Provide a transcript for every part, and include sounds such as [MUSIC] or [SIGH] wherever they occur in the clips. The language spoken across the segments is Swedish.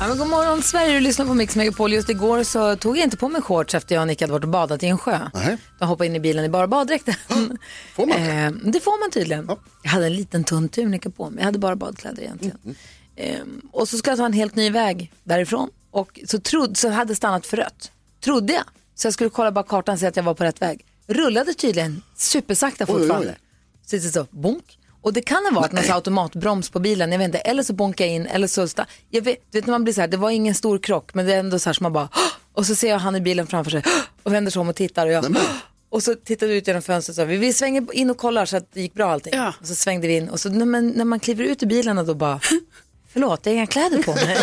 Ja, men god morgon Sverige, du lyssnar på Mix Megapol. Just igår så tog jag inte på mig shorts efter jag och Nick hade varit och badat i en sjö. Nej. Jag hoppade in i bilen i [GASPS] bara baddräkten. Får man eh, Det får man tydligen. Jag hade en liten tunn tunika på mig. Jag hade bara badkläder egentligen. Mm, Ehm, och så skulle jag ta en helt ny väg därifrån. Och så, trod, så hade jag stannat för rött. Trodde jag. Så jag skulle kolla bara kartan och se att jag var på rätt väg. Rullade tydligen supersakta oj, oj. fortfarande. Så det är så, bonk. Och det kan ha varit någon så här automatbroms på bilen, jag vet inte, eller så bonkar jag in, eller så... sta- Jag vet, du vet när man blir så här, det var ingen stor krock, men det är ändå så här som man bara... "Hå!" Och så ser jag han i bilen framför sig "Hå!" och vänder sig om och tittar och jag... "Hå!" Och så tittade vi ut genom fönstret och sa, vi, vi svänger in och kollar så att det gick bra allting. Och så svängde vi in och så när man, när man kliver ut ur bilen och då bara, förlåt, jag har inga kläder på mig.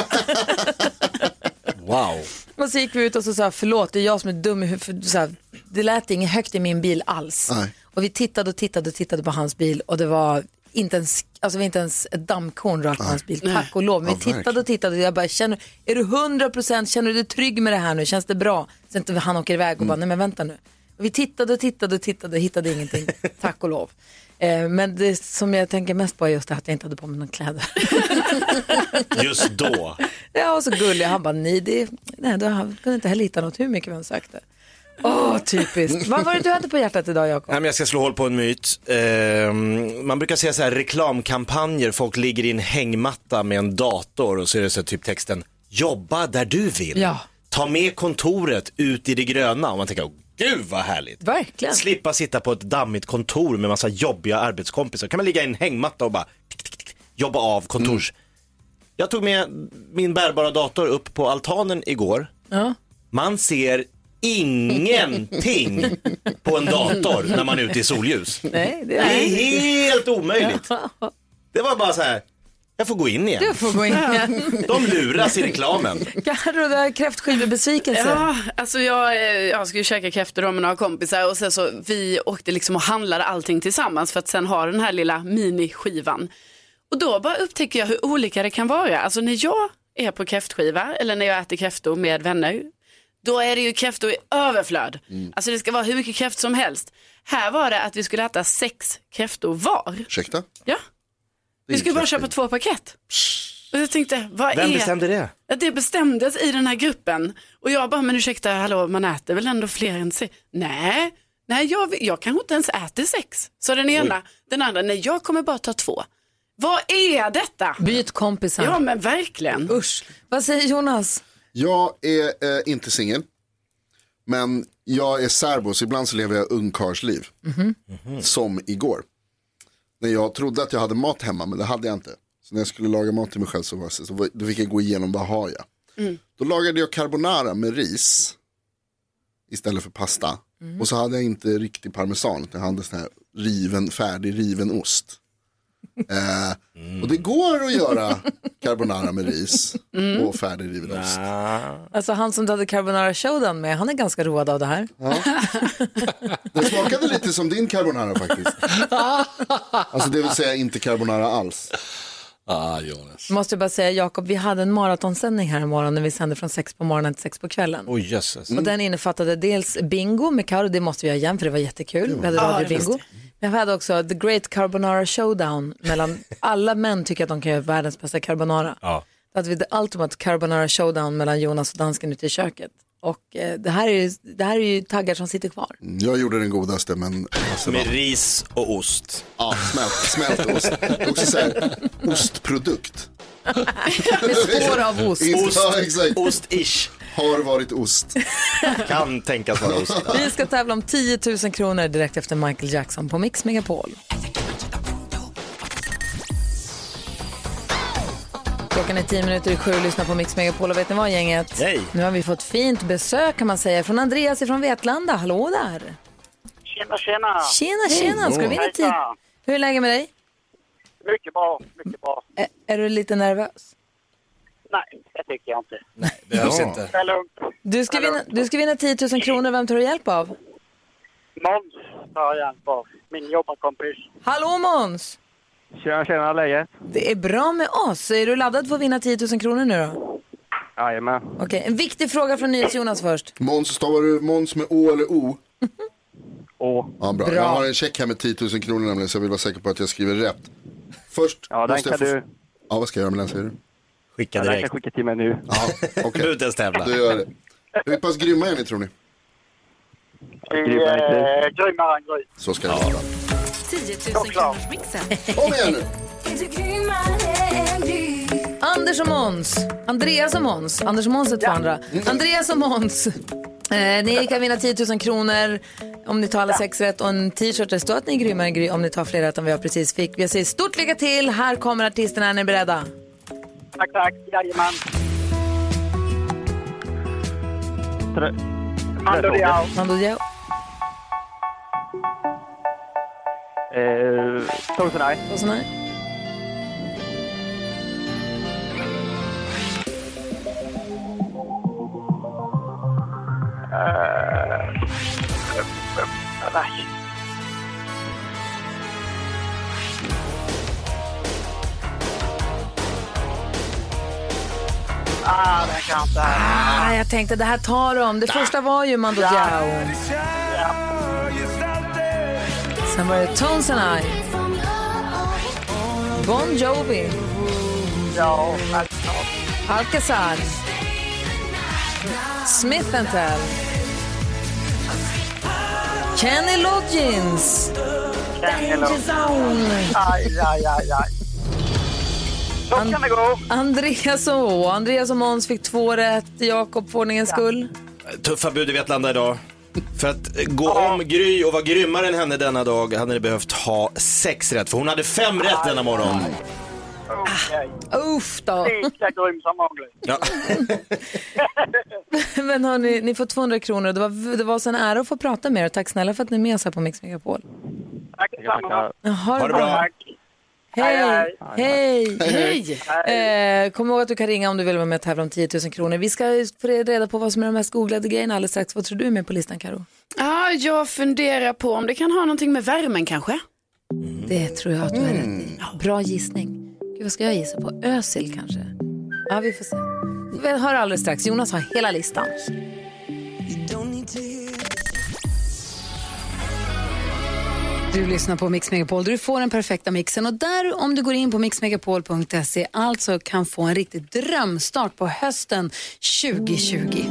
Wow. och så gick vi ut och så sa, förlåt, det är jag som är dum i huvudet. Så här, Det lät inget högt i min bil alls. Nej. Och vi tittade och tittade och tittade på hans bil och det var inte ens, alltså det var inte ens ett dammkorn rakt på hans bil, tack och lov. Men vi Ja, tittade verkligen. och tittade och jag bara, känner, är du 100 procent, känner du dig trygg med det här nu, känns det bra? Sen inte han åker iväg och bara, Mm. nej men vänta nu. Och vi tittade och tittade och tittade och hittade ingenting, [LAUGHS] tack och lov. Eh, men det som jag tänker mest på är just det här att jag inte hade på mig några kläder. [LAUGHS] Just då. jag var så gullig, han bara, nej, det, nej då, han kunde inte heller hitta något hur mycket vi än sökte. Åh, typiskt. Vad var det du hade på hjärtat idag, Jakob? Nej, men jag ska slå hål på en myt. Ehm, man brukar säga så här reklamkampanjer, folk ligger i en hängmatta med en dator och så är det så här, typ texten jobba där du vill. Ja. Ta med kontoret ut i det gröna och man tänker "Åh, gud vad härligt. Verkligen. Slippa sitta på ett dammigt kontor med massa jobbiga arbetskompisar. Kan man ligga i en hängmatta och bara tick, tick, tick, jobba av kontors. Mm. Jag tog med min bärbara dator upp på altanen igår. Man ser [LAUGHS] ingenting på en dator när man är ute i solljus. Nej, det Det är... är helt omöjligt. Det var bara så här, jag får gå in igen. Du får gå in igen. [LAUGHS] De luras i reklamen. Carro, det här är kräftskivebesvikelse. Ja, alltså jag, eh, jag skulle käka kräftor då med några kompisar och sen så vi åkte liksom och handlade allting tillsammans för att sen ha den här lilla miniskivan. Och då bara upptäcker jag hur olika det kan vara. Alltså när jag är på kräftskiva eller när jag äter kräftor med vänner, då är det ju kräftor i överflöd. Mm. Alltså det ska vara hur mycket kräft som helst. Här var det att vi skulle äta sex kräftor var. Ursäkta? Ja, vi skulle bara kräftor. köpa två paket. Och jag tänkte, vad Vem är... bestämde det? Ja, Det bestämdes i den här gruppen och jag bara, men ursäkta, hallå, man äter väl ändå fler än sex? Nej, nej jag, vill- jag kanske inte ens äter sex. Så den ena, den andra, nej jag kommer bara ta två. Vad är detta? Byt kompisar. Ja men verkligen. Usch. Vad säger Jonas? Jag är eh, inte singel. Men jag är särbo så ibland så lever jag ungkarlsliv. Som igår. När jag trodde att jag hade mat hemma men det hade jag inte. Så när jag skulle laga mat till mig själv så var jag, så- så, då fick jag gå igenom vad har jag. Mm. Då lagade jag carbonara med ris. Istället för pasta. Och så hade jag inte riktig parmesan. Utan jag hade sån här riven, färdig riven ost. Eh, Mm. Och det går att göra carbonara med ris. Och färdig riven ost. Alltså han som du hade Carbonara Showdown med, han är ganska road av det här. Den smakade lite som din carbonara faktiskt. Alltså det vill säga inte carbonara alls. Ah, Jonas. Måste jag bara säga, Jakob, vi hade en maratonsändning här imorgon när vi sände från sex på morgonen till sex på kvällen. Oj jösses. Och [LAUGHS] den innefattade dels bingo med Karo, det måste vi göra igen för det var jättekul. Vi hade radiobingo. Men vi hade också The Great Carbonara Showdown [LAUGHS] mellan alla män tycker att de kan göra världens bästa carbonara. Ja. Då hade vi The Ultimate Carbonara Showdown mellan Jonas och dansken ute i köket. Och eh, det, här är ju, det här är ju taggar som sitter kvar. Jag gjorde den godaste men alltså, Med ris och ost. ja, smält, smält ost. Också så [LAUGHS] här, ostprodukt. Med spår av ost. Mm. Ost. Ja, exakt. Ost-ish. Har varit ost. Kan tänkas vara [LAUGHS] ost. Vi ska tävla om 10 000 kronor direkt efter Michael Jackson på Mix Megapol. Klockan är 10 minuter i sju och lyssnar på Mix Megapol och vet ni vad gänget? Yay. Nu har vi fått fint besök kan man säga från Andreas ifrån Vetlanda. Hallå där! Tjena, tjena! Tjena tjena! Ska du vinna tid? Hejsan. Hur är läget med dig? Mycket bra, mycket bra. Ä- är du lite nervös? Nej, det tycker jag inte. Behövs inte. Det är lugnt. Du ska, vinna, du ska vinna 10 000 kronor, vem tar du hjälp av? Måns tar jag på, min jobbarkompis. Hallå Måns! Tjena, tjena läget? Det är bra med oss. Är du laddad för att vinna 10 000 kronor nu då? Jajamän. Okej, en viktig fråga från NyhetsJonas först. Måns, stavar du Måns med Å eller O? Åh, Ja, bra. Bra. Jag har en check här med 10 000 kronor nämligen, så jag vill vara säker på att jag skriver rätt. Först ja, den måste kan jag du, Ja, vad ska jag göra med den säger du? Skicka den kan direkt. jag skicka till mig nu. Ja, [LAUGHS] Du okej. behöver inte ens tävla. Då gör jag det. Hur pass grymma är ni tror ni? Vi Grymmare än Gry. är Eh, grymmare än Gry. Så ska det vara. 10 000 kronors mixen. Eh, Kom igen nu! Anders och Måns. Andreas och Måns. Anders och Måns är två andra. Andreas och Måns. Eh, ni kan vinna 10 000 kronor om ni tar alla sex rätt och en t-shirt där det står att ni är grymmare än Gry om ni tar fler rätt än vad jag precis fick. Jag säger stort lycka till. Här kommer artisterna. Är ni beredda? Tack, tack. Jajamän. Trö- Mando Diao. Mando Diao. eh, Thompson Eye. Och sån här. Nej. Ah, den kan jag inte. Ah, jag tänkte det här tar de. Det första var ju Mando Diao. Sen var det Tones and I. Bon Jovi. Ja, Alcazar. Smith Tell. Kenny Loggins. Kenny Loggins. Aj, aj, aj, aj. Så kan det gå. Andreas och Å. Andreas och Måns fick två rätt. Jakob för ordningens skull. Tuffa bud i Vetlanda idag. För att eh, gå om Gry och vara grymmare än henne denna dag hade ni behövt ha sex rätt. För hon hade fem rätt denna morgon. Okej. Ah, Uff då. Lika grym som vanligt. Ja. [LAUGHS] Men hörni, ni får 200 kronor. Det var, det var så en ära att få prata med er. Tack snälla för att ni är med oss här på Mix Megapol. Tack Jag tackar. detsamma. Ha det bra. [LAUGHS] Tack. Hej! Hej, Hej! Hej! Eh, kom ihåg att du kan ringa om du vill vara med och tävla om 10 000 kronor. Vi ska få reda på vad som är de mest googlade grejerna alldeles strax. Vad tror du är med på listan, Karo? Ja, jag funderar på om det kan ha någonting med värmen kanske. Det tror jag att du har rätt i. Bra gissning. Gud, vad ska jag gissa på? Ösil kanske? Ja, vi får se. Vi hör alldeles strax. Jonas har hela listan. Du lyssnar på Mix Megapol där du får den perfekta mixen och där om du går in på mixmegapol.se alltså kan få en riktig drömstart på hösten 2020.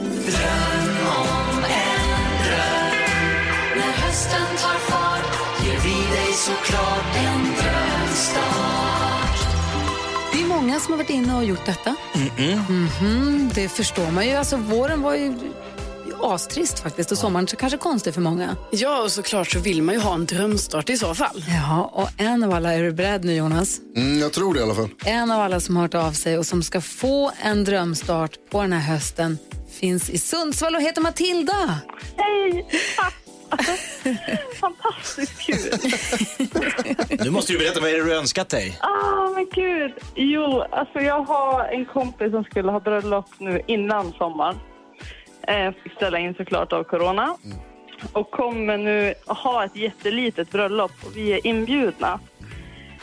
Det är många som har varit inne och gjort detta. Mhm, det förstår man ju. Alltså, våren var ju astrist faktiskt och sommaren så kanske konstig för många. Ja, och såklart så vill man ju ha en drömstart i så fall. Ja, och en av alla, är du beredd nu Jonas? Mm, jag tror det i alla fall. En av alla som har hört av sig och som ska få en drömstart på den här hösten finns i Sundsvall och heter Matilda. Hej! Alltså, [LAUGHS] Fantastiskt kul! Nu måste du berätta, vad är det du önskat dig? Ah, men gud! Jo, alltså jag har en kompis som skulle ha bröllop nu innan sommaren. Eh, fick ställa in såklart av corona. Och kommer nu ha ett jättelitet bröllop och vi är inbjudna.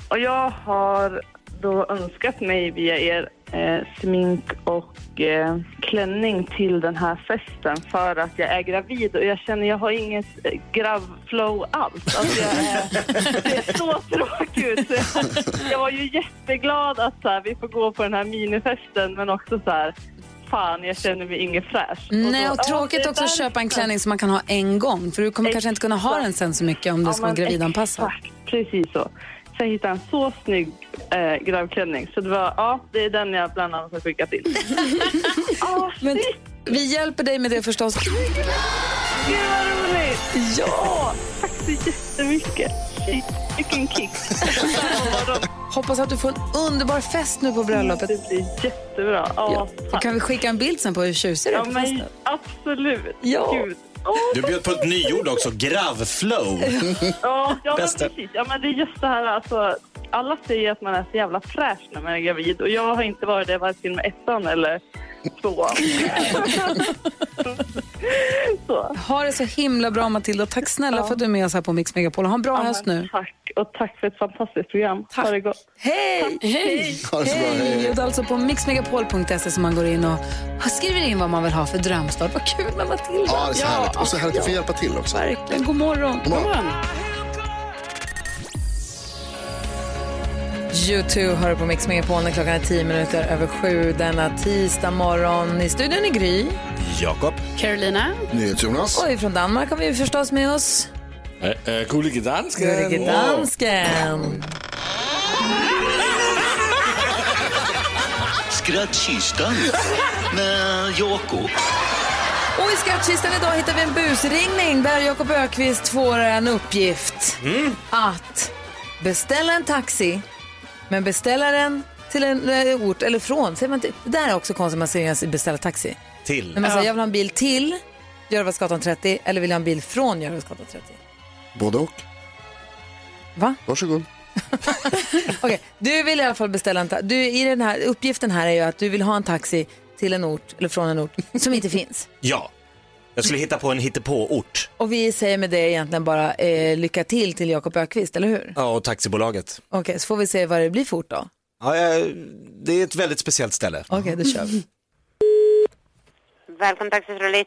Och jag har då önskat mig via er eh, smink och eh, klänning till den här festen för att jag är gravid och jag känner jag har inget eh, grabbflow alls. Alltså jag är, det är så tråkigt. [LAUGHS] Så jag- Jag var ju jätteglad att så här, vi får gå på den här minifesten men också så här Fan, jag känner mig ingen fräsch. Nej, då- och Ja, tråkigt det är också att därför. köpa en klänning som man kan ha en gång för du kommer kanske inte kunna ha den sen så mycket om Ja, du ska vara men gravidanpassad. Exakt, precis så. Så jag hittade en så snygg eh, gravklänning. Så det var, ja, det är den jag bland annat har skickat [LAUGHS] in. Ja, Men Ah, shit, vi hjälper dig med det förstås. gud vad roligt! Ja, tack så jättemycket. Shit, vilken kick. Hoppas att du får en underbar fest nu på bröllopet. Det blir jättebra. Ja. Ja, Då tack. kan vi skicka en bild sen på hur tjusig du är ja på men festen. absolut. Ja. Gud. Åh, Du bjöd på ett nyord också, gravflow. ja, ja, men Bästa. precis. Ja, men det är just det här alltså. Alla säger att man är så jävla fräsch när man är gravid och jag har inte varit det varken med ettan eller tvåan. Så. Ha det så himla bra Matilda. Tack snälla för att du är med oss här på Mix Megapol. Ha en bra höst nu. Tack, och tack för ett fantastiskt program. Ha det gott. Hej! Hej! Hej! Och det är alltså på mixmegapol.se som man går in och skriver in vad man vill ha för drömstart. Vad kul med Matilda. Ja, det är så härligt. Och så härligt att få hjälpa till också. Verkligen. God morgon. God morgon. U2 hör på Mix Megapol när klockan är tio minuter över sju denna tisdag morgon. I studion i Gry. Jakob. Carolina. NyhetsJonas. Och ifrån Danmark har vi förstås med oss Äh, äh, Gullige dansken. Gullige Dansken. Skrattkistan med Jakob. Och i skattkistan idag hittar vi en busringning där Jakob Ökvist får en uppgift att beställa en taxi, men beställa den till en eh, ort eller från. Säger man till, det där är också konstigt man säger beställa taxi. Till. När man säger jag vill ha en bil till Görvasgatan 30 eller vill jag ha en bil från Görvasgatan 30. Både och. Va? Varsågod. Okej, du vill i alla fall beställa en taxi. I den här uppgiften här är ju att du vill ha en taxi till en ort eller från en ort som inte finns. Ja. Jag skulle hitta på en hittepåort. Och vi säger med det egentligen bara eh, lycka till till Jakob Ökvist, eller hur? Ja, och taxibolaget. Okej, så får vi se vad det blir fort då. Ja, jag, det är ett väldigt speciellt ställe. Okej, då kör vi. Välkommen taxifrån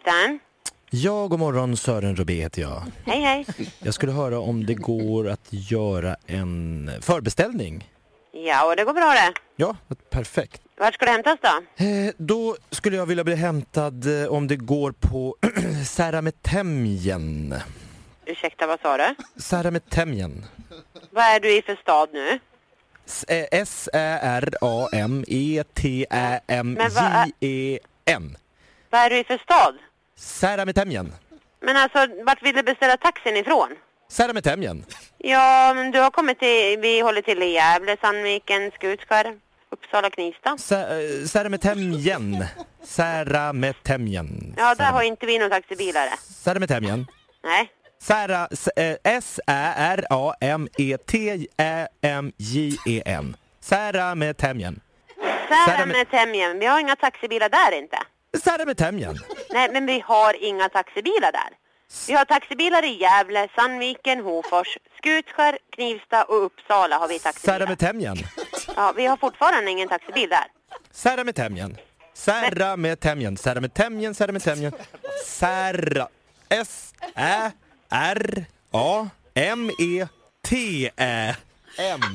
Ja, god morgon. Sören Rubé heter jag. Hej, hej. Jag skulle höra om det går att göra en förbeställning. Ja, och det går bra det. Ja, perfekt. Vart ska du hämtas då? Eh, då skulle jag vilja bli hämtad eh, om det går på [CLEARS THROAT] Särametemjen. Ursäkta, vad sa du? Särametemjen. Vad är du i för stad nu? S- eh, Men vad är- S-Ä-R-A-M-E-T-Ä-M-J-E-N. Vad är du i för stad? Särametemjen. Men alltså, vart vill du beställa taxin ifrån? Särametemjen. Ja, men du har kommit till, vi håller till i Gävle, Sandviken, Skutskär, Uppsala, Knivsta. Sä- eh, Särametemjen. Särametemjen. Ja, där har inte vi någon taxibilare. Särametemjen. Nej. Sära, s- eh, S-Ä-R-A-M-E-T-Ä-M-J-E-N. Särametemjen. Sära med Tämjen, vi har inga taxibilar där inte. Särametemjen. Nej, men vi har inga taxibilar där. Vi har taxibilar i Gävle, Sandviken, Hofors, Skutskär, Knivsta och Uppsala har vi taxibilar. Särametemjen. Ja, vi har fortfarande ingen taxibil där. Särametemjen. Särametemjen. Särametemjen. Särametemjen. Sära...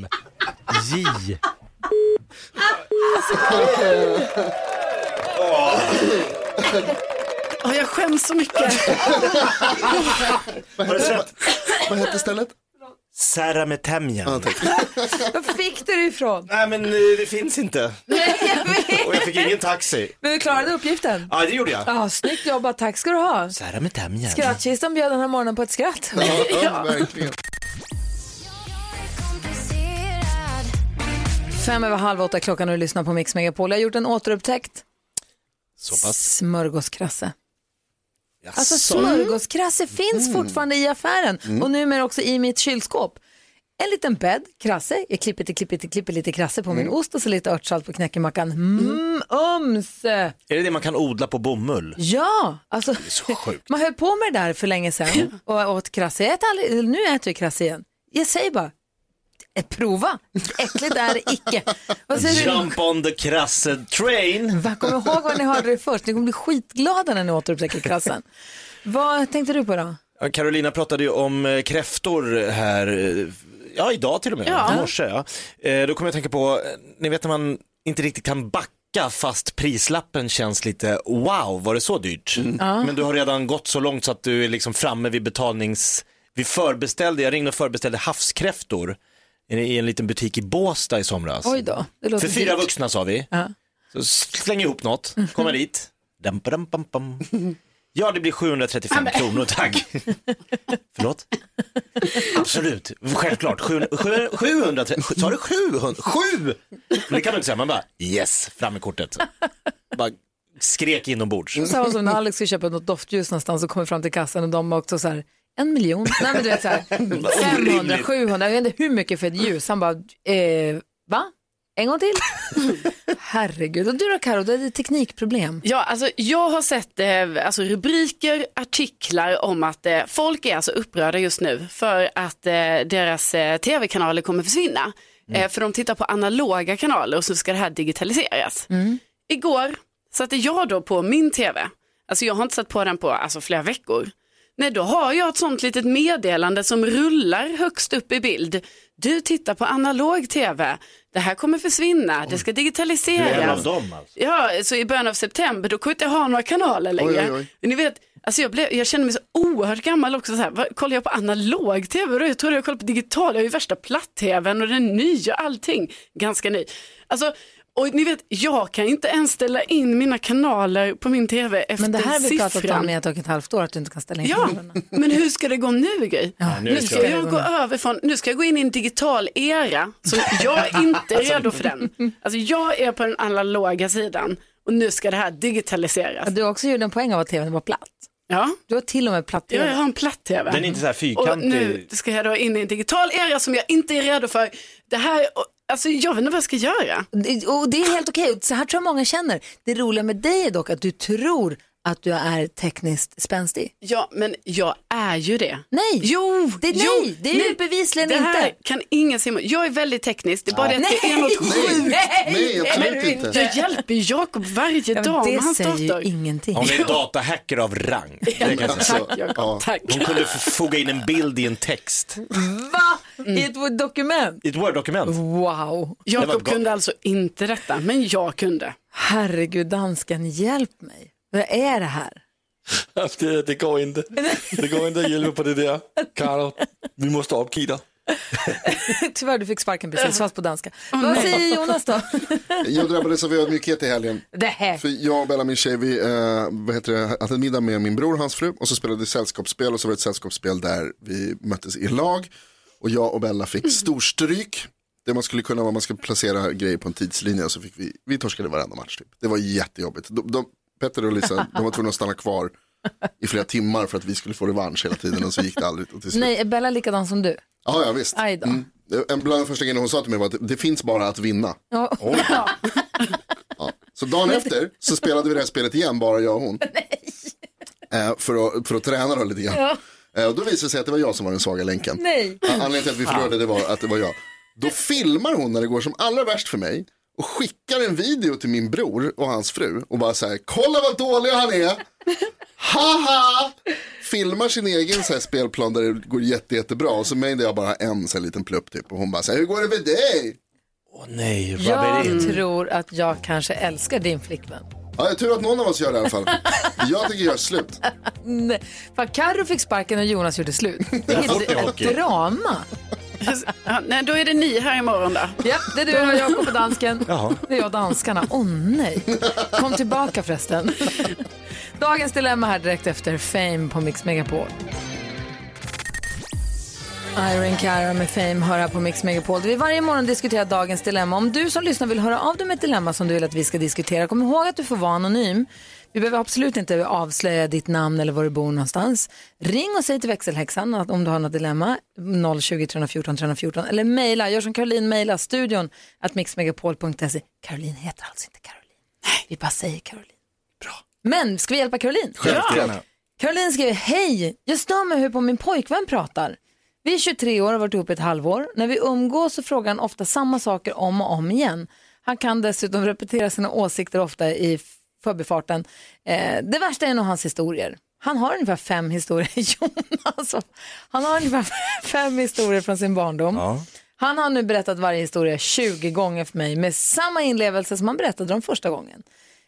S-Ä-R-A-M-E-T-Ä-M-J. Åh, jag skäms så mycket. [LAUGHS] Vad hette, vad hette stället? Särametemjen. [LAUGHS] Var fick du det ifrån? Nej, men eh, det finns inte. Och jag fick ingen taxi. Men du klarade uppgiften. Ja, det gjorde jag. Ja, snyggt jobbat. Tack ska du ha. Särametemjen. Skrattkistan bjöd den här morgonen på ett skratt. [LAUGHS] ja, verkligen. Fem över halv åtta klockan och du lyssnar på Mix Megapol. Jag har gjort en återupptäckt Så pass. smörgåskrasse. Alltså smörgåskrasse finns fortfarande i affären och numera också i mitt kylskåp. En liten bädd, krasse, jag klipper till klipper till klipper lite krasse på min ost och så lite örtsalt på knäckemackan. Mm, ömse! Är det det man kan odla på bomull? Ja, alltså man höll på med det där för länge sedan och åt krasse. Jag äter aldrig, nu äter vi krasse igen. Jag säger bara, eh, prova, äckligt är det icke. Vad säger du? Jump on the krasse train. Va, kom ihåg vad ni hörde det först, ni kommer bli skitglada när ni återupptäcker krassen. vad tänkte du på då? Ja, Carolina pratade ju om eh, kräftor här, eh, ja idag till och med, Ja. i morse. Ja. Eh, Då kommer jag att tänka på, eh, ni vet när man inte riktigt kan backa fast prislappen känns lite wow, var det så dyrt? Ja. Men du har redan gått så långt så att du är liksom framme vid betalnings... Vi förbeställde, jag ringde och förbeställde havskräftor i- i en liten butik i Båstad i somras. Oj då, det För låter fyra dyrt. vuxna sa vi. Ja. Så släng ihop något, komma dit. Dam, padam, pam, pam. Ja, det blir 735 kronor, tack. Förlåt? Absolut, självklart. 700, 700, sa du 700? 7! Men det kan du inte säga, man bara yes, fram med kortet. Bara skrek inombords. Så här var det som när Alex skulle köpa något doftljus någonstans och kommer fram till kassan och de har också så här en miljon, nej men du [LAUGHS] vet så här, 500, Orimligt. 700, jag vet inte hur mycket för ett ljus. Han bara, eh, va? En gång [LAUGHS] till. Herregud. Och du då Karo, du hade ett teknikproblem. Ja, alltså, jag har sett eh, alltså, rubriker, artiklar om att eh, folk är alltså upprörda just nu för att eh, deras eh, tv-kanaler kommer försvinna. Eh, Mm. för de tittar på analoga kanaler och så ska det här digitaliseras. Mm. Igår satte jag då på min tv, alltså jag har inte satt på den på alltså, flera veckor. Nej, då har jag ett sånt litet meddelande som rullar högst upp i bild. Du tittar på analog tv, det här kommer försvinna, det ska Du digitaliseras. är en av dem alltså. Ja, så i början av september då kommer jag inte ha några kanaler längre. Oj, oj, oj. Men Ni vet, alltså jag, blev, jag känner mig så oerhört gammal också. Så här. Vad, kollar jag på analog tv då? Jag trodde jag kollade på digital. Jag har ju värsta platt-tvn och den nya allting. Ganska ny. Alltså, och ni vet, jag kan inte ens ställa in mina kanaler på min tv efter Men det här har vi pratat siffran. om i ett och ett halvt år, att du inte kan ställa in Ja, kanalerna. men hur ska det gå nu Gry? nu nu ska ska det jag gå gå nu. över från, nu ska jag gå in i en digital era, så jag [LAUGHS] är inte redo för den. Alltså jag är på den analoga sidan och nu ska det här digitaliseras. Du också gjorde en poäng av att tvn var platt. Ja. Du har till och med platt Ja, jag har en platt-tv. Den är inte så här fyrkantig. Och nu ska jag då in i en digital era som jag inte är redo för. Det här, alltså jag vet inte vad jag ska göra. Det- Och det är helt okej, så här tror jag många känner. Det roliga med dig är dock att du tror att du är tekniskt spänstig. Ja, men jag är ju det. Nej, jo, det, jo, nej, det är ju bevisligen det här inte. kan ingen simma. Jag är väldigt teknisk, det är bara det att det är något Nej, sjukt. nej, Nej, absolut Men inte. Jag hjälper ju Jakob varje men dag det med hans säger ju dator. ingenting. Hon är datahacker av rang. Det kan jag säga. Tack, Jakob, tack. Hon kunde f- foga in en bild i en text. Va? I ett Word dokument? I ett Word-dokument. Wow. Det var Jakob gott. kunde alltså inte detta, men jag kunde. Herregud, dansken, hjälp mig. Vad är det här? [LAUGHS] [LAUGHS] Det, det går inte. Det går inte att hjälpa på det där. Karo, vi måste uppge dig. Tyvärr, du fick sparken precis, fast på danska. Vad säger Jonas [LAUGHS] då? Jag drabbades av ödmjukhet i helgen. Det här. För jag och Bella, min tjej, vi eh, vad heter det, hade middag med min bror och hans fru och så spelade vi sällskapsspel och så var det ett sällskapsspel där vi möttes i lag och jag och Bella Mm. fick storstryk. Det man skulle kunna vara, man skulle placera grejer på en tidslinje och så fick vi, vi torskade varenda match typ. Det var jättejobbigt. De, de, Petter och Lisa, de var tvungna att stanna kvar i flera timmar för att vi skulle få revansch hela tiden och så gick det aldrig. Och till slut. Nej, är Bella likadan som du? Ja, ja visst. Aj då. Mm. En bland de första grejerna hon sa till mig var att det finns bara att vinna. Ja. Ja. Så dagen efter så spelade vi det här spelet igen, bara jag och hon. Eh, för, att, för att träna då lite grann. Ja. Eh, och då visade det sig att det var jag som var den svaga länken. Nej. Ja, Anledningen till att vi förlorade det var att det var jag. Då filmar hon när det går som allra värst för mig och skickar en video till min bror och hans fru och bara så här, kolla vad dålig han [LAUGHS] är. Haha! Filmar sin egen så här spelplan där det går jätte, jättebra och så mig där jag bara har en så här liten plupp typ och hon bara så här, hur går det för dig? Nej, [LAUGHS] Jag tror att jag kanske älskar din flickvän. Ja, jag är tur att någon av oss gör det i alla fall. Jag tänker göra slut. Nej, för Mm, Carro fick sparken och Jonas gjorde slut. Det Ja, fort i är ett hockey. drama. Ja, nej, då är det ni här imorgon då. Ja, det är du och Jakob och dansken. Jaha. Det är jag och danskarna. Åh nej. Kom tillbaka förresten. Dagens dilemma här direkt efter Fame på Mix Megapol. Irene Cara med Fame hör här på Mix Megapol där vi varje morgon diskuterar dagens dilemma. Om du som lyssnar vill höra av dig med ett dilemma som du vill att vi ska diskutera, kom ihåg att du får vara anonym. Vi behöver absolut inte avslöja ditt namn eller var du bor någonstans. Ring och säg till växelhäxan att om du har något dilemma, 020 314 314 eller mejla, gör som Caroline, mejla studion att mixmegapol.se. Caroline heter alltså inte Caroline, vi bara säger Caroline. Bra. Men ska vi hjälpa Caroline? Självklart. Caroline skriver, hej, jag stör mig hur på min pojkvän pratar. Vi är 23 år och har varit ihop ett halvår. När vi umgås så frågar han ofta samma saker om och om igen. Han kan dessutom repetera sina åsikter ofta i f- förbifarten. Eh, det värsta är nog hans historier. Han har ungefär fem historier, [LAUGHS] Jonas. Han har ungefär fem historier från sin barndom. Han har nu berättat varje historia 20 gånger för mig med samma inlevelse som han berättade de första gången.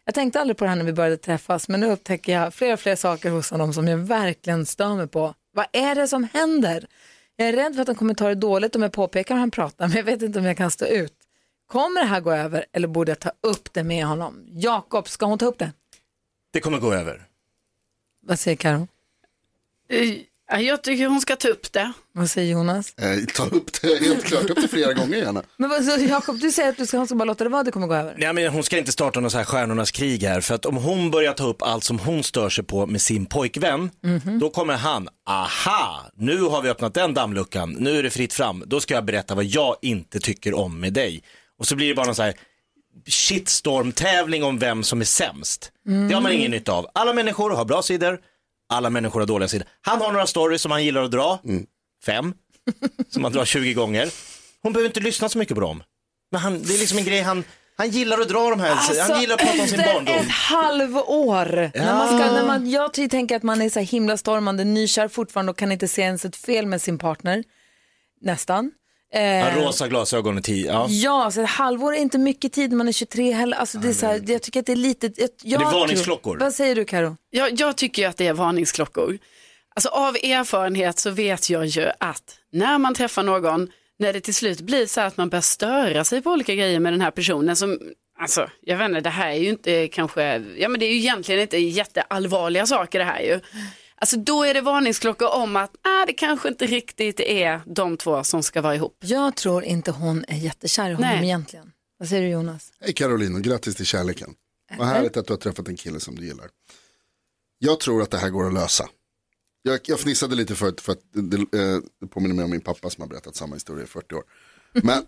Jag tänkte aldrig på det här när vi började träffas, men nu upptäcker jag fler och fler saker hos honom som jag verkligen stör mig på. Vad är det som händer? Jag är rädd för att han kommer ta det dåligt om jag påpekar hur han pratar, men jag vet inte om jag kan stå ut. Kommer det här gå över eller borde jag ta upp det med honom? Jakob, ska hon ta upp det? Det kommer gå över. Vad säger Karo? Eh, Jag tycker hon ska ta upp det. Vad säger Jonas? Eh, ta upp det, helt klart, upp det flera gånger gärna. Men vad, så Jakob, du säger att du ska, hon ska bara låta det vara, det kommer gå över. Nej, men hon ska inte starta någon så här stjärnornas krig här, för att om hon börjar ta upp allt som hon stör sig på med sin pojkvän, då kommer han, aha, nu har vi öppnat den dammluckan, nu är det fritt fram, då ska jag berätta vad jag inte tycker om med dig. Och Och så blir det bara någon så här shitstorm-tävling om vem som är sämst. Det har man ingen nytta av. Alla människor har bra sidor, alla människor har dåliga sidor. Han har några stories som han gillar att dra, fem, som han drar 20 gånger. Hon behöver inte lyssna så mycket på dem. Men han, det är liksom en grej han, han gillar att dra de här, han gillar att prata om sin Alltså, efter barndom. ett halvår. När man ska, när man, jag ty- tänker att man är så här himla stormande, nykär fortfarande och kan inte se ens ett fel med sin partner. Nästan. Ja, Eh, rosa glasögon och tio, ja. Ja, så ett halvår är inte mycket tid när man är 23 heller. Alltså, det är så här, jag tycker att det är lite... Jag, jag, det är tror- varningsklockor. Vad säger du Karo? Jag, jag tycker ju att det är varningsklockor. Alltså av erfarenhet så vet jag ju att när man träffar någon, när det till slut blir så här att man börjar störa sig på olika grejer med den här personen som, alltså jag vet inte, det här är ju inte kanske, ja men det är ju egentligen inte jätteallvarliga saker det här ju. Alltså då är det varningsklockor om att nej, det kanske inte riktigt är de två som ska vara ihop. Jag tror inte hon är jättekär i honom Nej. egentligen. Vad säger du Jonas? Hej Caroline och grattis till kärleken. Vad härligt att du har träffat en kille som du gillar. Jag tror att det här går att lösa. Jag, jag fnissade lite förut för att det, eh, det påminner mig om min pappa som har berättat samma historia i 40 år. Men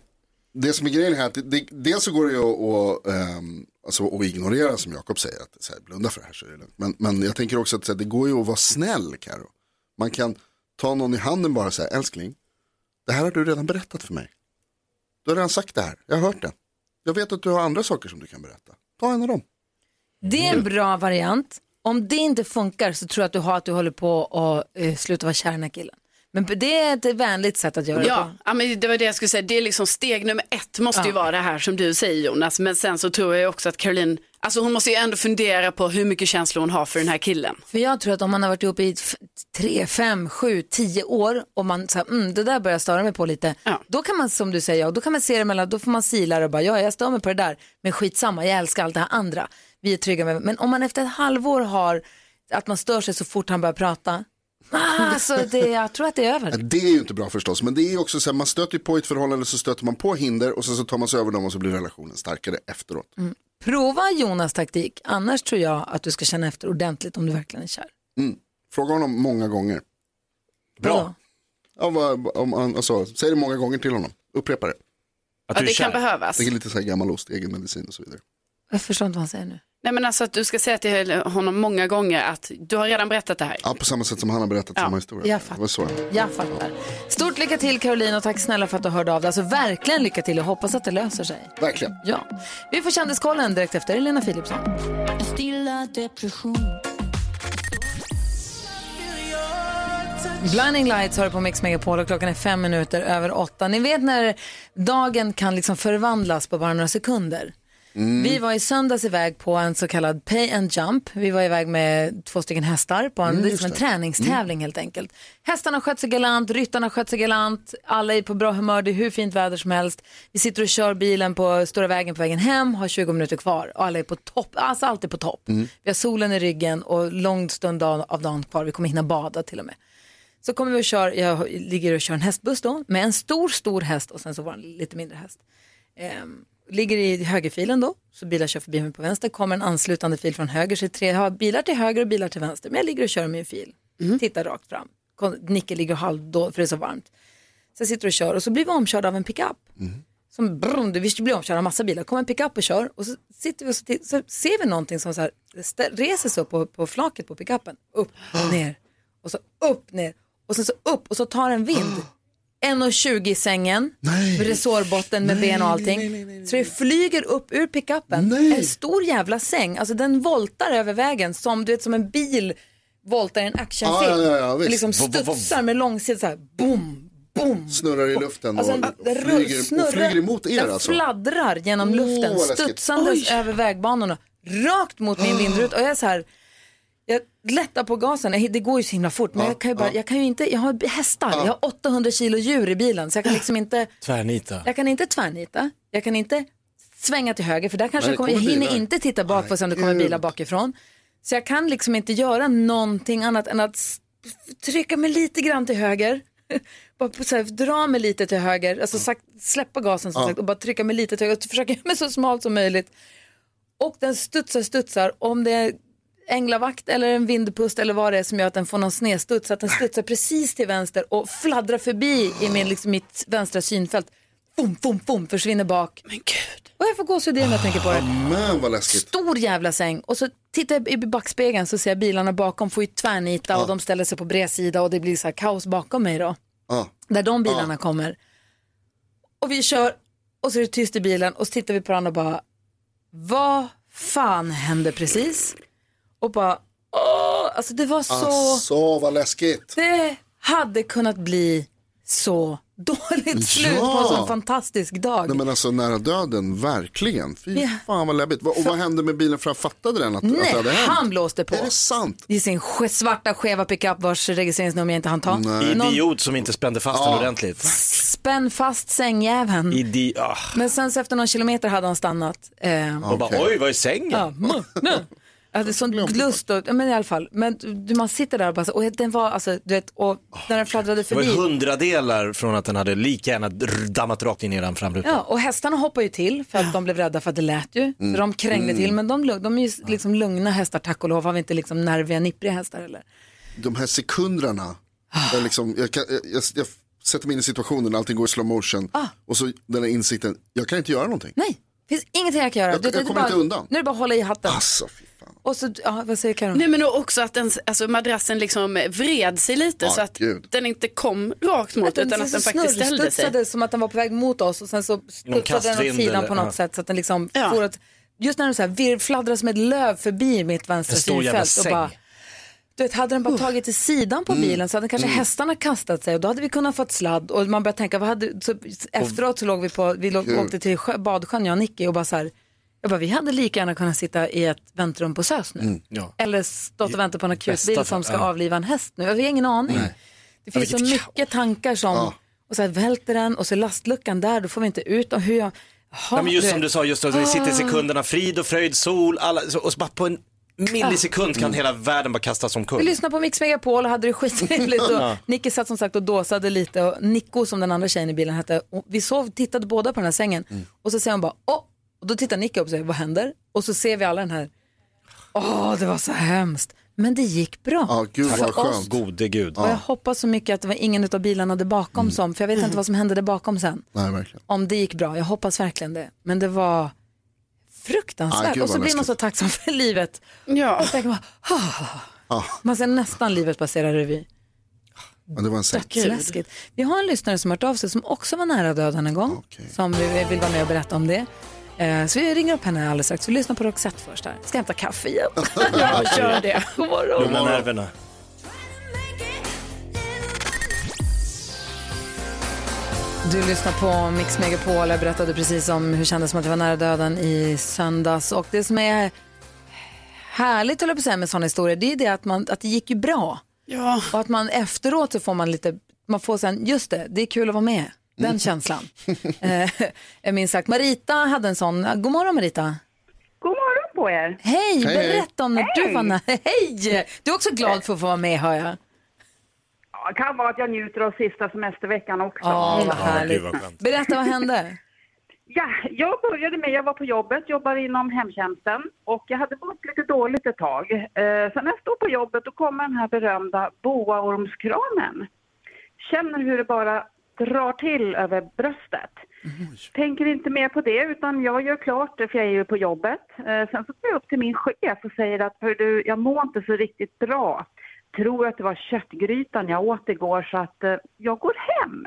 det som är grejen här, är att det, det, dels så går det ju att, att, ehm, alltså, att ignorera som Jakob säger, att så här, blunda för det här så är det lugnt. Men, men jag tänker också att så här, det går ju att vara snäll Karo. Man kan ta någon i handen bara så här, älskling, det här har du redan berättat för mig. Du har redan sagt det här, jag har hört det. Jag vet att du har andra saker som du kan berätta. Ta en av dem. Det är en bra variant. Om det inte funkar så tror jag att du har att du håller på att eh, sluta vara kär i den här killen. Men det är ett vänligt sätt att göra det Ja, på. ja men det var det jag skulle säga. Det är liksom steg nummer ett måste ju Ja. vara det här som du säger Jonas. Men sen så tror jag också att Caroline, alltså hon måste ju ändå fundera på hur mycket känslor hon har för den här killen. För jag tror att om man har varit ihop i 3, 5, 7, 10 år och man säger mm, det där börjar jag störa mig på lite. Då kan man som du säger, ja, då kan man se det mellan, då får man sila det och bara ja, jag stör mig på det där, men skitsamma, jag älskar allt det här andra. Vi är trygga med Men om man efter ett halvår har att man stör sig så fort han börjar prata, ah, alltså det, jag tror att det är över. Det är ju inte bra förstås, men det är ju också så här, man stöter ju på i ett förhållande så stöter man på hinder och sen så tar man sig över dem och så blir relationen starkare efteråt. Mm. Prova Jonas taktik, annars tror jag att du ska känna efter ordentligt om du verkligen är kär. Mm. Fråga honom många gånger. Bra. Ja, vad, om, han- alltså, säg det många gånger till honom, upprepa det. Att Ja, du är det kär. kan behövas. Det är lite så här gammal ost, egen medicin och så vidare. Jag förstår inte vad han säger nu. Nej men alltså att du ska säga till honom många gånger att du har redan berättat det här. Ja, på samma sätt som han har berättat samma historia. jag fattar. Det var så. Jag fattar. Stort lycka till Caroline och tack snälla för att du hörde av dig. Alltså verkligen lycka till och hoppas att det löser sig. Verkligen. Ja. Vi får kändiskollen direkt efter Elena Philipsson. Stilla depression. Blinding Lights hör på Mix Megapol och klockan är fem minuter över åtta. Ni vet när dagen kan liksom förvandlas på bara några sekunder. Mm. Vi var i söndags iväg på en så kallad pay and jump. Vi var iväg med två stycken hästar på en, Mm, det är just som en det. Mm. träningstävling helt enkelt. Hästarna sköt sig galant, ryttarna sköt sig galant, alla är på bra humör, det är hur fint väder som helst. Vi sitter och kör bilen på stora vägen på vägen hem, har 20 minuter kvar och alla är på topp, alltså allt är på topp. Mm. Vi har solen i ryggen och lång stund av av dagen kvar, vi kommer hinna bada till och med. Så kommer vi och kör, jag ligger och kör en hästbuss då, med en stor, stor häst och sen så var det en lite mindre häst. Ehm, ligger i högerfilen då, så bilar kör förbi mig på vänster, kommer en anslutande fil från höger, så det är tre, jag har bilar till höger och bilar till vänster, men jag ligger och kör i min fil, tittar rakt fram. Kon- Nicke ligger halv då för det är så varmt. Så jag sitter och kör och så blir vi omkörda av en pickup. Som brum, vi blir omkörda av massa bilar, kommer en pickup och kör och så sitter vi och så, titt- så ser vi någonting som så här, stä- reser sig upp på, på flaket på pickupen. Upp, [GASPS] ner och så upp, ner och sen så upp och så tar en vind. 1,20 i sängen, med resårbotten med Nej, ben och nej, allting. nej, Så det flyger upp ur pickuppen, en stor jävla säng, alltså den voltar över vägen som du vet som en bil voltar i en actionfilm. Ja, ja, ja, ja, visst. det liksom Vov, vov, vov. studsar med långsida så här, boom, boom. Snurrar i luften Alltså, och, den- den och, flyger, snurrar- och flyger emot er den alltså. fladdrar genom Åh, luften, vad läskigt. studsandes över vägbanorna, rakt mot min vindruta. Och jag är så här, jag lättar på gasen, Jag- det går ju så himla fort, men Ja, jag kan ju bara, ja. jag kan ju inte, jag har hästar, jag har 800 kilo djur i bilen, så jag kan liksom inte, Tvärnita. jag kan inte tvärnita, jag kan inte svänga till höger, för där kanske Nej, det kommer, det jag kommer hinner bilar. inte titta bak för att se om det kommer gud. bilar bakifrån. Så jag kan liksom inte göra någonting annat än att s- trycka mig lite grann till höger, [LAUGHS] bara på, så här, dra mig lite till höger, alltså sak, släppa gasen som Ja. sagt och bara trycka mig lite till höger och försöka [LAUGHS] göra mig så smalt som möjligt. Och den studsar, studsar, om det är änglavakt eller en vindpust eller vad det är som gör att den får någon snedstuds, så att den studsar precis till vänster och fladdrar förbi i min, liksom, mitt vänstra synfält. Fum, fum, fum, försvinner bak. Och jag får gåshud när jag tänker Ah, på det. Men vad läskigt. Stor jävla säng. Och så tittar jag i backspegeln så ser jag bilarna bakom får ju tvärnita och de ställer sig på bredsida och det blir så här kaos bakom mig då. Ja. Där de bilarna kommer. Och vi kör och så är det tyst i bilen och så tittar vi på varandra och bara vad fan hände precis? Och bara åh, alltså det var så, Alltså vad läskigt. det hade kunnat bli så dåligt slut på en Ja. sån fantastisk dag. Nej men alltså nära döden, verkligen. Fy Ja. fan vad läbbigt. Och vad hände med bilen för han fattade den att, att det hade Nej, hänt? han blåste på. Är det sant? I sin ske- svarta skeva pickup vars registreringsnummer jag inte hann ta. Någon Idiot som inte spände fast den ordentligt. spänn fast sängjäveln. Idi ah. Men sen så efter några kilometer hade han stannat. Eh, Och bara oj, vad är sängen? Ja, mu- nu. Jag hade sån glust och, ja, men i alla fall. Men du, man sitter där och bara så, och den var alltså, du vet, och när den fladdrade Det var ju förbi. hundradelar från att den hade lika gärna dr- dammat rakt in i den framrutan. Ja, och hästarna hoppade ju till för att de blev rädda för att det lät ju. Mm. Så de krängde Mm. till, men de, lugn- de är ju liksom lugna hästar tack och lov. Har vi inte liksom nerviga, nippriga hästar eller? De här sekunderna. Där liksom, jag, kan, jag, jag, jag sätter mig in i situationen, allting går i slow motion. Och så den här insikten, jag kan inte göra någonting. Ah. Nej. finns ingenting jag kan göra. Jag- Du vet, jag det är kommer bara, inte undan. Nu är det bara att hålla i hatten. Ah. Alltså, Och så, ja, vad säger Karin? Nej men och också att den, alltså, madrassen liksom vred sig lite Ja, så att gud. den inte kom rakt mot utan att den faktiskt ställde sig. snurrstudsade som att den var på väg mot oss och sen så studsade den åt kastvind sidan eller- på något ja. sätt så att den liksom får att, just när den så här vir, fladdrar som ett löv förbi mitt vänstra En stor jävla synfält och säng. bara du vet, hade den bara tagit till sidan på Mm. bilen så hade kanske Mm. hästarna kastat sig och då hade vi kunnat fått sladd och man började tänka, vad hade, så, efteråt så låg vi på, vi låg, Kul. åkte till sjö, badsjön jag och Nicky och bara så här, jag bara vi hade lika gärna kunnat sitta i ett väntrum på SÖS nu. Mm, ja. Eller stått och väntat på en akutbil bästa som ska fall, ja. avliva en häst nu, vi har ingen aning. Det Ja, finns så vilket mycket tankar som, och så här välter den och så är lastluckan där, då får vi inte ut och hur jag, Nej, men just vet. som du sa, just att vi sitter i sekunderna, frid och fröjd, sol, alla, så- och så bara på en millisekund kan hela världen bara kastas Vi omkull. lyssnade på Mix Megapol och hade det skittrevligt. Och Ja. Nicky satt som sagt och dåsade lite och Nico som den andra tjejen i bilen hette, och vi sov, tittade båda på den här sängen Mm. och så säger hon bara åh, och då tittar Nicky upp och säger vad händer? Och så ser vi alla den här, åh det var så hemskt, men det gick bra. Ja, gud, vad För skönt. oss- Gode gud. Och jag hoppas så mycket att det var ingen av bilarna där bakom Mm. som, för jag vet inte vad som hände där bakom sen. Nej, verkligen. Om det gick bra, jag hoppas verkligen det. Men det var Ah, fruktansvärt. gud, och så vad blir man läskigt. så tacksam för livet. Ja. Och tänker man, "Ah." Ja, man ser nästan livet passera revy. men det var en säng. Dödsläskigt. Vi har en lyssnare som har hört av sig som också var nära döden en gång. Som vi vill vara med och berätta om det. Eh, Så vi ringer upp henne alldeles strax. Vi lyssnar på Roxette först där. Ska hämta kaffe [LAUGHS] igen. Ja, gör det. God morgon. Lugna nerverna. Du lyssnar på Mix Megapol. Jag berättade precis om hur det kändes som att jag var nära döden i söndags. Och det som är härligt, höll jag på att säga, med sådana historier, det är det att, man, att det gick ju bra. Ja. Och att man efteråt så får man lite, man får sen, just det, det är kul att vara med. Den känslan. eh, är minst sagt. Marita hade en sån, god morgon Marita. God morgon på er! Hej, Hej, hej. berätta om när du Hej. var nära, hej! Du är också glad för att få vara med hör jag. Ja, Det kan vara att jag njuter av sista semesterveckan också. Ja, vad härligt. Berätta, vad hände? Ja, jag började med, jag var på jobbet, jobbar inom hemtjänsten och jag hade mått lite dåligt ett tag. Eh, sen när jag stod på jobbet då kommer den här berömda boaormskramen. Känner hur det bara drar till över bröstet. Tänker inte mer på det utan jag gör klart det för jag är ju på jobbet. Eh, sen så går jag upp till min chef och säger att hör du, jag mår inte så riktigt bra. Tror att det var köttgrytan jag åt igår så att eh, jag går hem.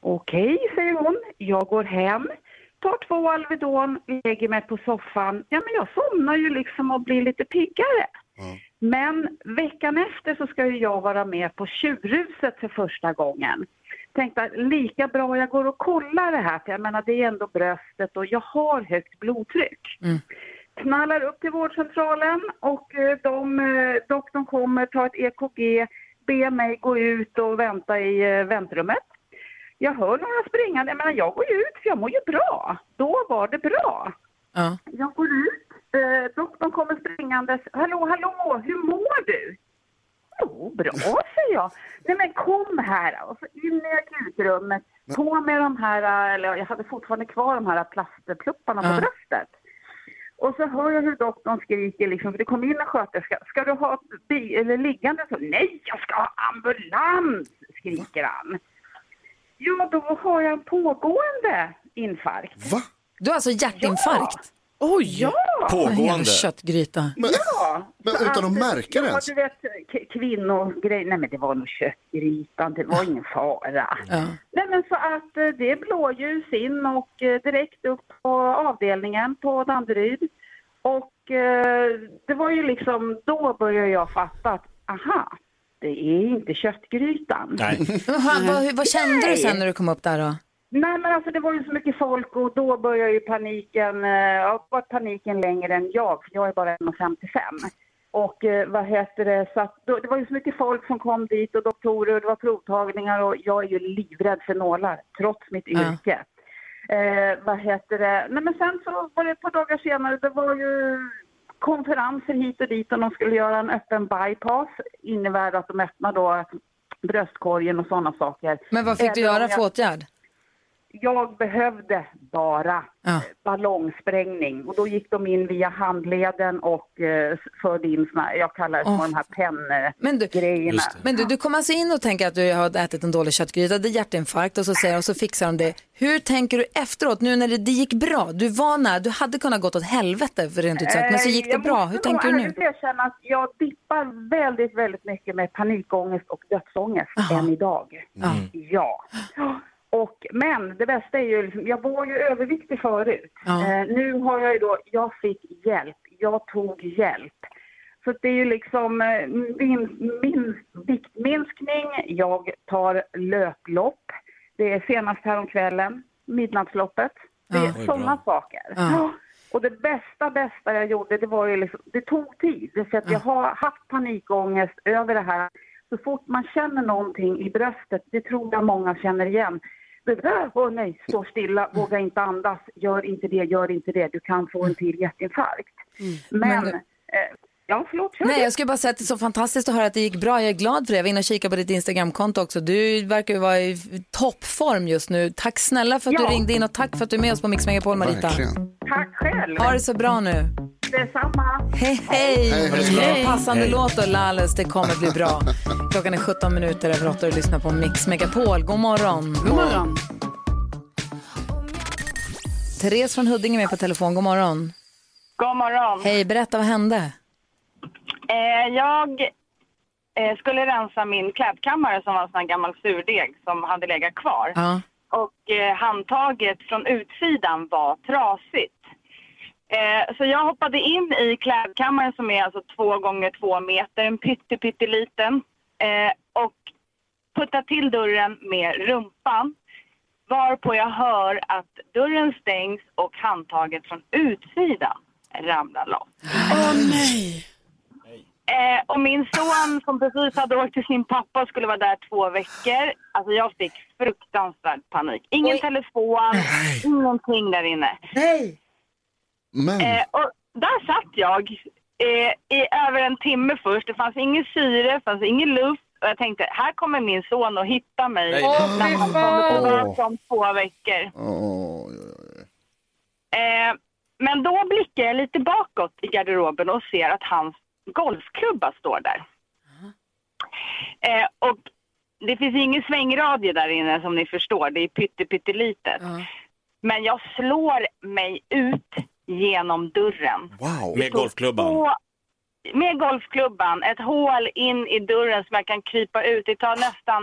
Okej, säger hon. Jag går hem, tar två Alvedon, lägger mig på soffan. Ja, men jag somnar ju liksom och blir lite piggare. Men veckan efter så ska ju jag vara med på Tjurhuset för första gången. Tänkte att lika bra jag går och kollar det här, för jag menar det är ändå bröstet och jag har högt blodtryck Mm. knallar upp till vårdcentralen och eh, de, eh, doktorn kommer, tar ett E EKG, ber mig gå ut och vänta i eh, väntrummet. Jag hör några springande, men jag går ju ut för jag mår ju bra. Då var det bra. Ja. Jag går ut, eh, doktorn kommer springandes. Hallå, hallå, hur mår du? Jo, bra, säger jag. Nej men kom här! Och så in i akutrummet, på med de här, eh, eller jag hade fortfarande kvar de här plastplupparna på Ja. bröstet. Och så hör jag hur doktorn skriker, liksom, för det kom in en sköterska. Ska du ha bi- eller liggande? Så, Nej, jag ska ha ambulans! skriker han. Ja, då har jag en pågående infarkt. Va? Du har alltså hjärtinfarkt? Oj! Ja. Pågående. En köttgryta. Ja, men så utan att märka det ja, ens. du vet, k- kvinnogrej. Nej, men det var nog köttgrytan. Det var ingen fara. Nej, men så att eh, det är blåljus in och eh, direkt upp på avdelningen på Danderyd. Och eh, det var ju liksom, då började jag fatta att aha, det är inte köttgrytan. Men han, vad, vad kände du sen när du kom upp där då? Nej men alltså det var ju så mycket folk och då började ju paniken, eh, ja, var paniken längre än jag, för jag är bara 1,55. Och eh, vad heter det, så att, då, det var ju så mycket folk som kom dit och doktorer och det var provtagningar och jag är ju livrädd för nålar, trots mitt Ja. yrke. Eh, vad heter det, nej men sen så var det ett par dagar senare, det var ju konferenser hit och dit och de skulle göra en öppen bypass, innebär att de öppnar då bröstkorgen och sådana saker. Men vad fick du Även om göra för jag- åtgärd? jag behövde bara Ja. ballongsprängning och då gick de in via handleden och eh, förde in såna, jag kallar det för Åh. de här Men du, penngrejerna. men du, du kommer alltså in och tänker att du har ätit en dålig köttgryta, det är hjärtinfarkt och så, säger, och så fixar de det. Hur tänker du efteråt, nu när det, det gick bra? Du var nära, du hade kunnat gått åt helvete för rent ut sagt, men så gick det Eh, Jag bra. måste Hur tänker du nog nu? ärligt erkänna att jag dippar väldigt, väldigt mycket med panikångest och dödsångest än idag. Mm. Ja. Och, men det bästa är ju, liksom, jag var ju överviktig förut. Eh, nu har jag ju då, jag fick hjälp, jag tog hjälp. Så det är ju liksom eh, min, min viktminskning, jag tar löplopp. Det är senast häromkvällen, midnattsloppet. Det Ja. är Oj, sådana saker. Ja. Och det bästa, bästa jag gjorde, det var ju liksom, det tog tid. För att jag har haft panikångest över det här. Så fort man känner någonting i bröstet, det tror jag många känner igen. Det där, åh nej, står Mm. stilla, våga inte andas, gör inte det, gör inte det, du kan få en till hjärtinfarkt. Men, Mm. Men- eh, ja förlåt, kör Nej, du. jag skulle bara säga att det är så fantastiskt att höra att det gick bra. Jag är glad för det. Jag var inne och kikade på ditt Instagramkonto också. Du verkar ju vara i toppform just nu. Tack snälla för att Ja. du ringde in och tack för att du är med oss på Mix Megapol, Marita. Verkligen. Tack själv. Ha det så bra nu. Detsamma. Hej, hej! Hej, Det hej. är en passande Hej. låt och Lalles, det kommer bli bra. Klockan är 17 minuter över 8 och du lyssnar på Mix Megapol. God morgon! God morgon. Therese från Huddinge är med på telefon. God morgon! God morgon. Hej, berätta vad hände? Eh, jag eh, skulle rensa min klädkammare som var en sån här gammal surdeg som hade legat kvar. Ja. Och eh, handtaget från utsidan var trasigt. Eh, så jag hoppade in i klädkammaren som är alltså två gånger två meter, en pytte, pytteliten. Eh, och puttade till dörren med rumpan. Varpå jag hör att dörren stängs och handtaget från utsidan ramlar loss. Åh nej! Eh, och min son som precis hade åkt till sin pappa och skulle vara där två veckor. Alltså jag fick fruktansvärd panik. Ingen telefon, ingenting där inne. Nej. Men. Eh, och där satt jag eh, i över en timme först. Det fanns inget syre, det fanns ingen luft. Och jag tänkte, här kommer min son att hitta mig Nej. Åh, när fy han fan. kommer tillbaka om två veckor. Åh, Eh, men då blickar jag lite bakåt i garderoben och ser att hans golfklubba står där. Eh, och det finns ingen svängradie där inne som ni förstår, det är pytte, pyttelitet. Men jag slår mig ut genom dörren. Wow. Med golfklubban. Och med golfklubban, ett hål in i dörren som jag kan krypa ut. Det tar nästan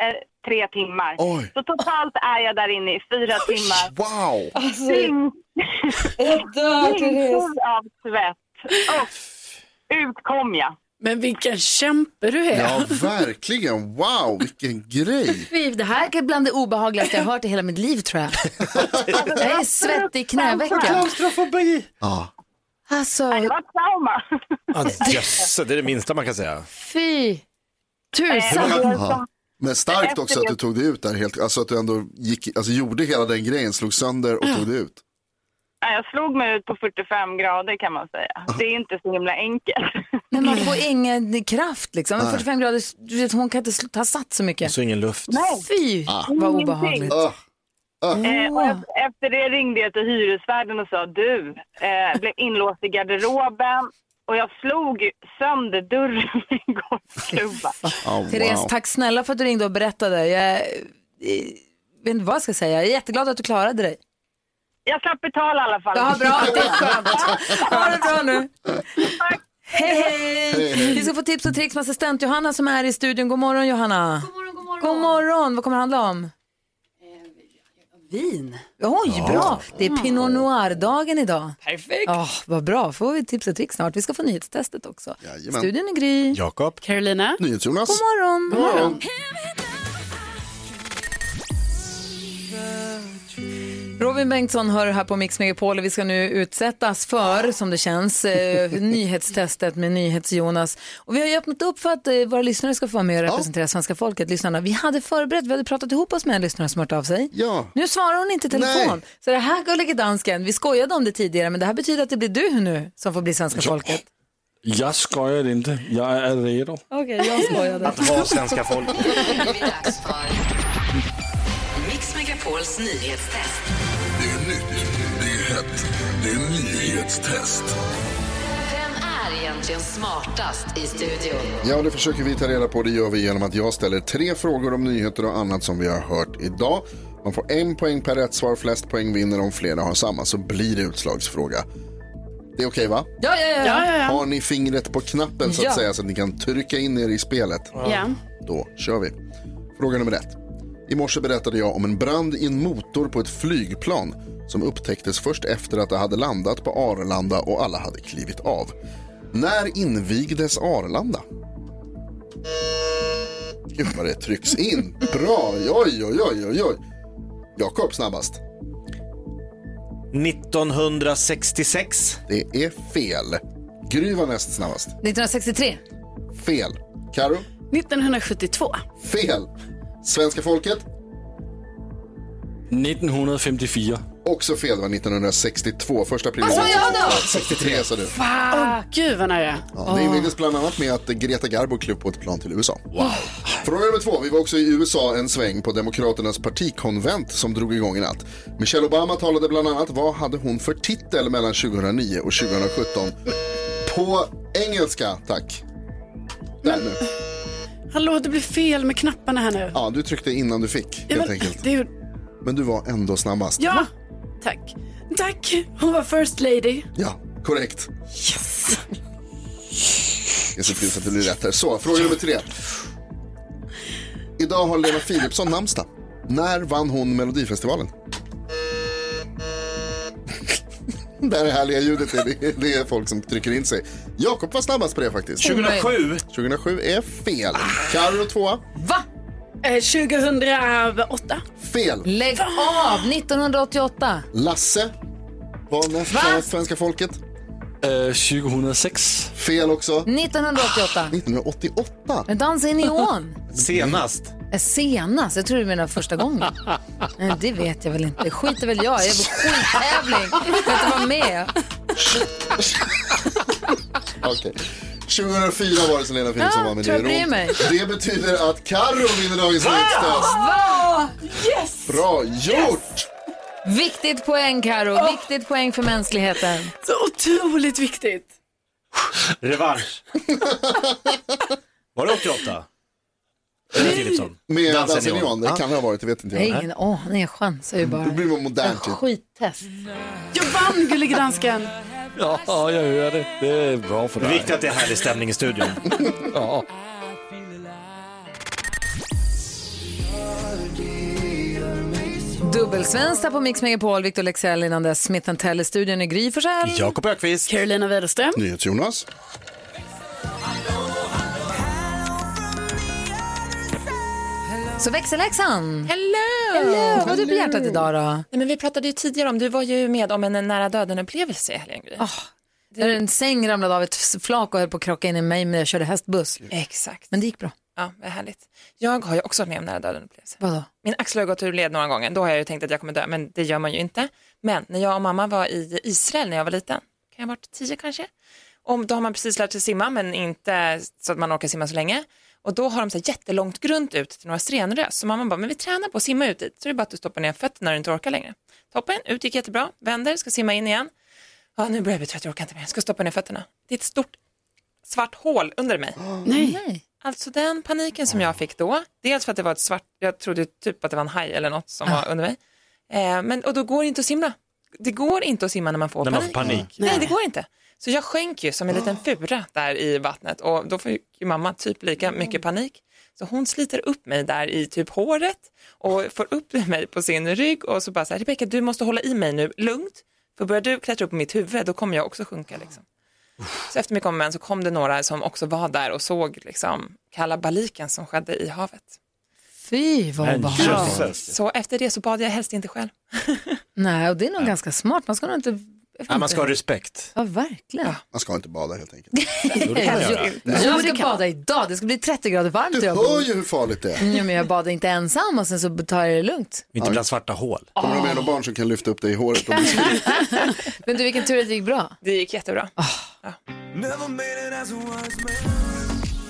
eh, tre timmar. Oj. Så totalt är jag där inne i fyra timmar. Wow! Dyng- Jag dör, Therese. Dyngsur av svett. Och ut kom jag. Men vilken kämpe du är. Ja, verkligen. Wow, vilken grej. Fy, Det här är bland det obehagligaste jag har hört i hela mitt liv tror jag. Jag är svettig i knävecken. Klaustrofobi! Ja. Alltså, Det var ett trauma. Ah, Jösses, det är det minsta man kan säga. fy tusan. Ja. Men starkt också att du tog dig ut där helt, alltså att du ändå gick, alltså gjorde hela den grejen, slog sönder och tog dig ut. Ja, Jag slog mig ut på 45 grader kan man säga. Det är inte så himla enkelt. Men man får ingen kraft liksom. Men Nej. 45 grader, du vet, hon kan inte sl- ta sats så mycket. Så ingen luft. Fy, Ah. vad Ingenting. obehagligt. Ah. Eh, och Åh. e- efter det ringde jag till hyresvärden och sa du, eh, blev inlåst i garderoben och jag slog sönder dörren med en golfklubba. Therese, tack snälla för att du ringde och berättade. Jag, eh, vet inte vad jag ska säga. Jag är jätteglad att du klarade dig. Jag slapp betala i alla fall. Ja, [LAUGHS] bra. Det är skönt. Ha det bra nu. Hej, hej! Vi ska få tips och tricks med assistent Johanna som är här i studion. God morgon, Johanna. God morgon, god morgon. God morgon. Vad kommer det handla om? Vin. Oj, Ja. bra. Det är Pinot Noir-dagen idag. Perfekt. Ja, vad bra. Får vi tips och tricks snart. Vi ska få nyhetstestet också. Jajamän. Studion är Gry. Jakob. Carolina. NyhetsJonas. God morgon. God morgon. Robin Bengtsson hör här på Mix Megapol och vi ska nu utsättas för, som det känns, eh, nyhetstestet med NyhetsJonas. Och vi har ju öppnat upp för att eh, våra lyssnare ska få vara med och representera svenska folket, lyssnarna. Vi hade förberett, vi hade pratat ihop oss med en lyssnare som hört av sig. Ja. Nu svarar hon inte i telefon. Nej. Så det här, Gullige Dansken, vi skojade om det tidigare, men det här betyder att det blir du nu som får bli svenska folket. Jag skojar inte. Jag är redo. Okej, jag skojade. Att vara svenska folket. Nu är [LAUGHS] det dags för Mix Megapols nyhetstest. Det är nytt, det är hett, det är nyhetstest. Vem är egentligen smartast i studion? Ja, det försöker vi ta reda på. Det gör vi genom att jag ställer tre frågor om nyheter och annat som vi har hört idag. Man får en poäng per rätt svar. Flest poäng vinner om flera har samma så blir det utslagsfråga. Det är okej va? Ja, ja, ja. Ja, ja, ja. Har ni fingret på knappen så att Ja. säga så att ni kan trycka in er i spelet? Ja. Då kör vi. Fråga nummer ett. I morse berättade jag om en brand i en motor på ett flygplan som upptäcktes först efter att det hade landat på Arlanda och alla hade klivit av. När invigdes Arlanda? Gud vad det trycks in. Bra, oj, oj, oj, oj, oj. Jakob snabbast. 1966. Det är fel. Gry var näst snabbast. 1963. Fel. Karo? 1972. Fel. Svenska folket? 1954. Också fel, det var 1962. Första april. Vad sa jag då? 63 sa du. Åh, gud vad nära. Ja, det invigdes bland annat med att Greta Garbo klev på ett plan till USA. Fråga nummer två. Vi var också i USA en sväng på Demokraternas partikonvent som drog igång i natt. Michelle Obama talade bland annat, vad hade hon för titel mellan 2009 och 2017? På engelska, tack. Där nu. Hallå, det blev fel med knapparna här nu. Ja, du tryckte innan du fick, Ja, helt men, enkelt. det är ju... Men du var ändå snabbast. Ja, tack. Tack, hon var first lady. Ja, korrekt. Yes! Jag ser till så att det blir rätt här. Så, fråga nummer tre. Idag har Lena Philipsson namnsdag. När vann hon Melodifestivalen? [LAUGHS] Det här härliga ljudet, det är, det är folk som trycker in sig. Jakob var snabbast på det faktiskt. 2007. 2007 är fel. Carro tvåa. Va? Eh, 2008. Fel. Lägg av! 1988. Lasse var näst snabbast, svenska folket. Eh, 2006. Fel också. Ah, 1988. 1988. Men dansa i neon. Senast. Eh, Senast? Jag tror du menar [LAUGHS] första gången. Nej, det vet jag väl inte. Det skiter väl jag i. Jag är på skittävling. Jag kan inte [LAUGHS] vara med. [LAUGHS] Okej. 2004 var det som Lena Philipsson Ja, vann med tror jag Det gör bryr ont. mig. Ah! Det betyder att Carro vinner dagens nyhetstest. Va? Bra gjort! Viktigt poäng, Karo. Viktigt poäng för mänskligheten. Så otroligt viktigt. Revansch. Var det 88? Eller Philipsson? Med Dansen Dansen neon. Neon, det kan det ha varit, det vet inte Jag har jag. ingen aning. Jag chansar ju bara. Det blir man modern typ. Skittest. Jag vann, gullige dansken. Ja, jag hör det. Det är bra för Det dig. är viktigt att det är härlig stämning i studion. ja. Dubbelsvenskt här på Mix Megapol. Victor Lexell innan dess. Smith Tell i studion i Gry Forssell. Jakob Ökvist. Carolina Widerström. NyhetsJonas. Så växelläxan. Hello! Hello! Vad har du på hjärtat idag då? Nej, men vi pratade ju tidigare om, du var ju med om en nära döden-upplevelse i helgen. Gry. Där en säng ramlade av ett flak och höll på att krocka in i mig men jag körde hästbuss. Exakt. Men det gick bra. Ja, vad härligt. Jag har ju också varit med om nära döden-upplevelse. Vadå? Min axel har gått ur led några gånger, då har jag ju tänkt att jag kommer dö, men det gör man ju inte. Men när jag och mamma var i Israel när jag var liten, kan jag ha varit tio kanske? Och då har man precis lärt sig simma, men inte så att man orkar simma så länge. Och då har de så här jättelångt grunt ut till några stenrös. Så mamma bara, men vi tränar på att simma ut dit. Så det är bara att du stoppar ner fötterna när du inte orkar längre. Toppen, ut gick jättebra, vänder, ska simma in igen. Ja, nu börjar jag bli trött, jag orkar inte mer, jag ska stoppa ner fötterna. Det är ett stort svart hål under mig. Nej. Alltså den paniken som jag fick då, dels för att det Ah. var ett svart, jag trodde typ att det var en haj eller något som var under mig. Eh, men, och då går det inte att simla. det går inte att simma när man får När man panik. får panik. Ah. Nej, det går inte. Så jag sjönk ju som en liten fura där i vattnet och då fick ju mamma typ lika Mm. mycket panik. Så hon sliter upp mig där i typ håret och får upp [LAUGHS] mig på sin rygg och så bara så här, Rebecka du måste hålla i mig nu, lugnt. För börjar du klättra upp på mitt huvud då kommer jag också sjunka liksom. Så efter mycket om och men så kom det några som också var där och såg liksom kalabaliken som skedde i havet. Fy vad Men obehagligt. Så efter det så bad jag helst inte själv. [LAUGHS] Nej, och det är nog ganska smart. Man ska nog inte... jag vet Nej, man inte. ska ha respekt. Ja, verkligen. Man ska inte bada helt [LAUGHS] enkelt. Jo, det kan man göra. Jag ska bada idag. Det ska bli 30 grader varmt. Du jag hör ju hur farligt det är. Mm. Ja, men jag badar inte ensam och sen så tar jag det lugnt. Inte bland svarta hål. Kommer de med några barn som kan lyfta upp dig i håret? Och Men du, vilken tur att det gick bra. Det gick jättebra. Ja,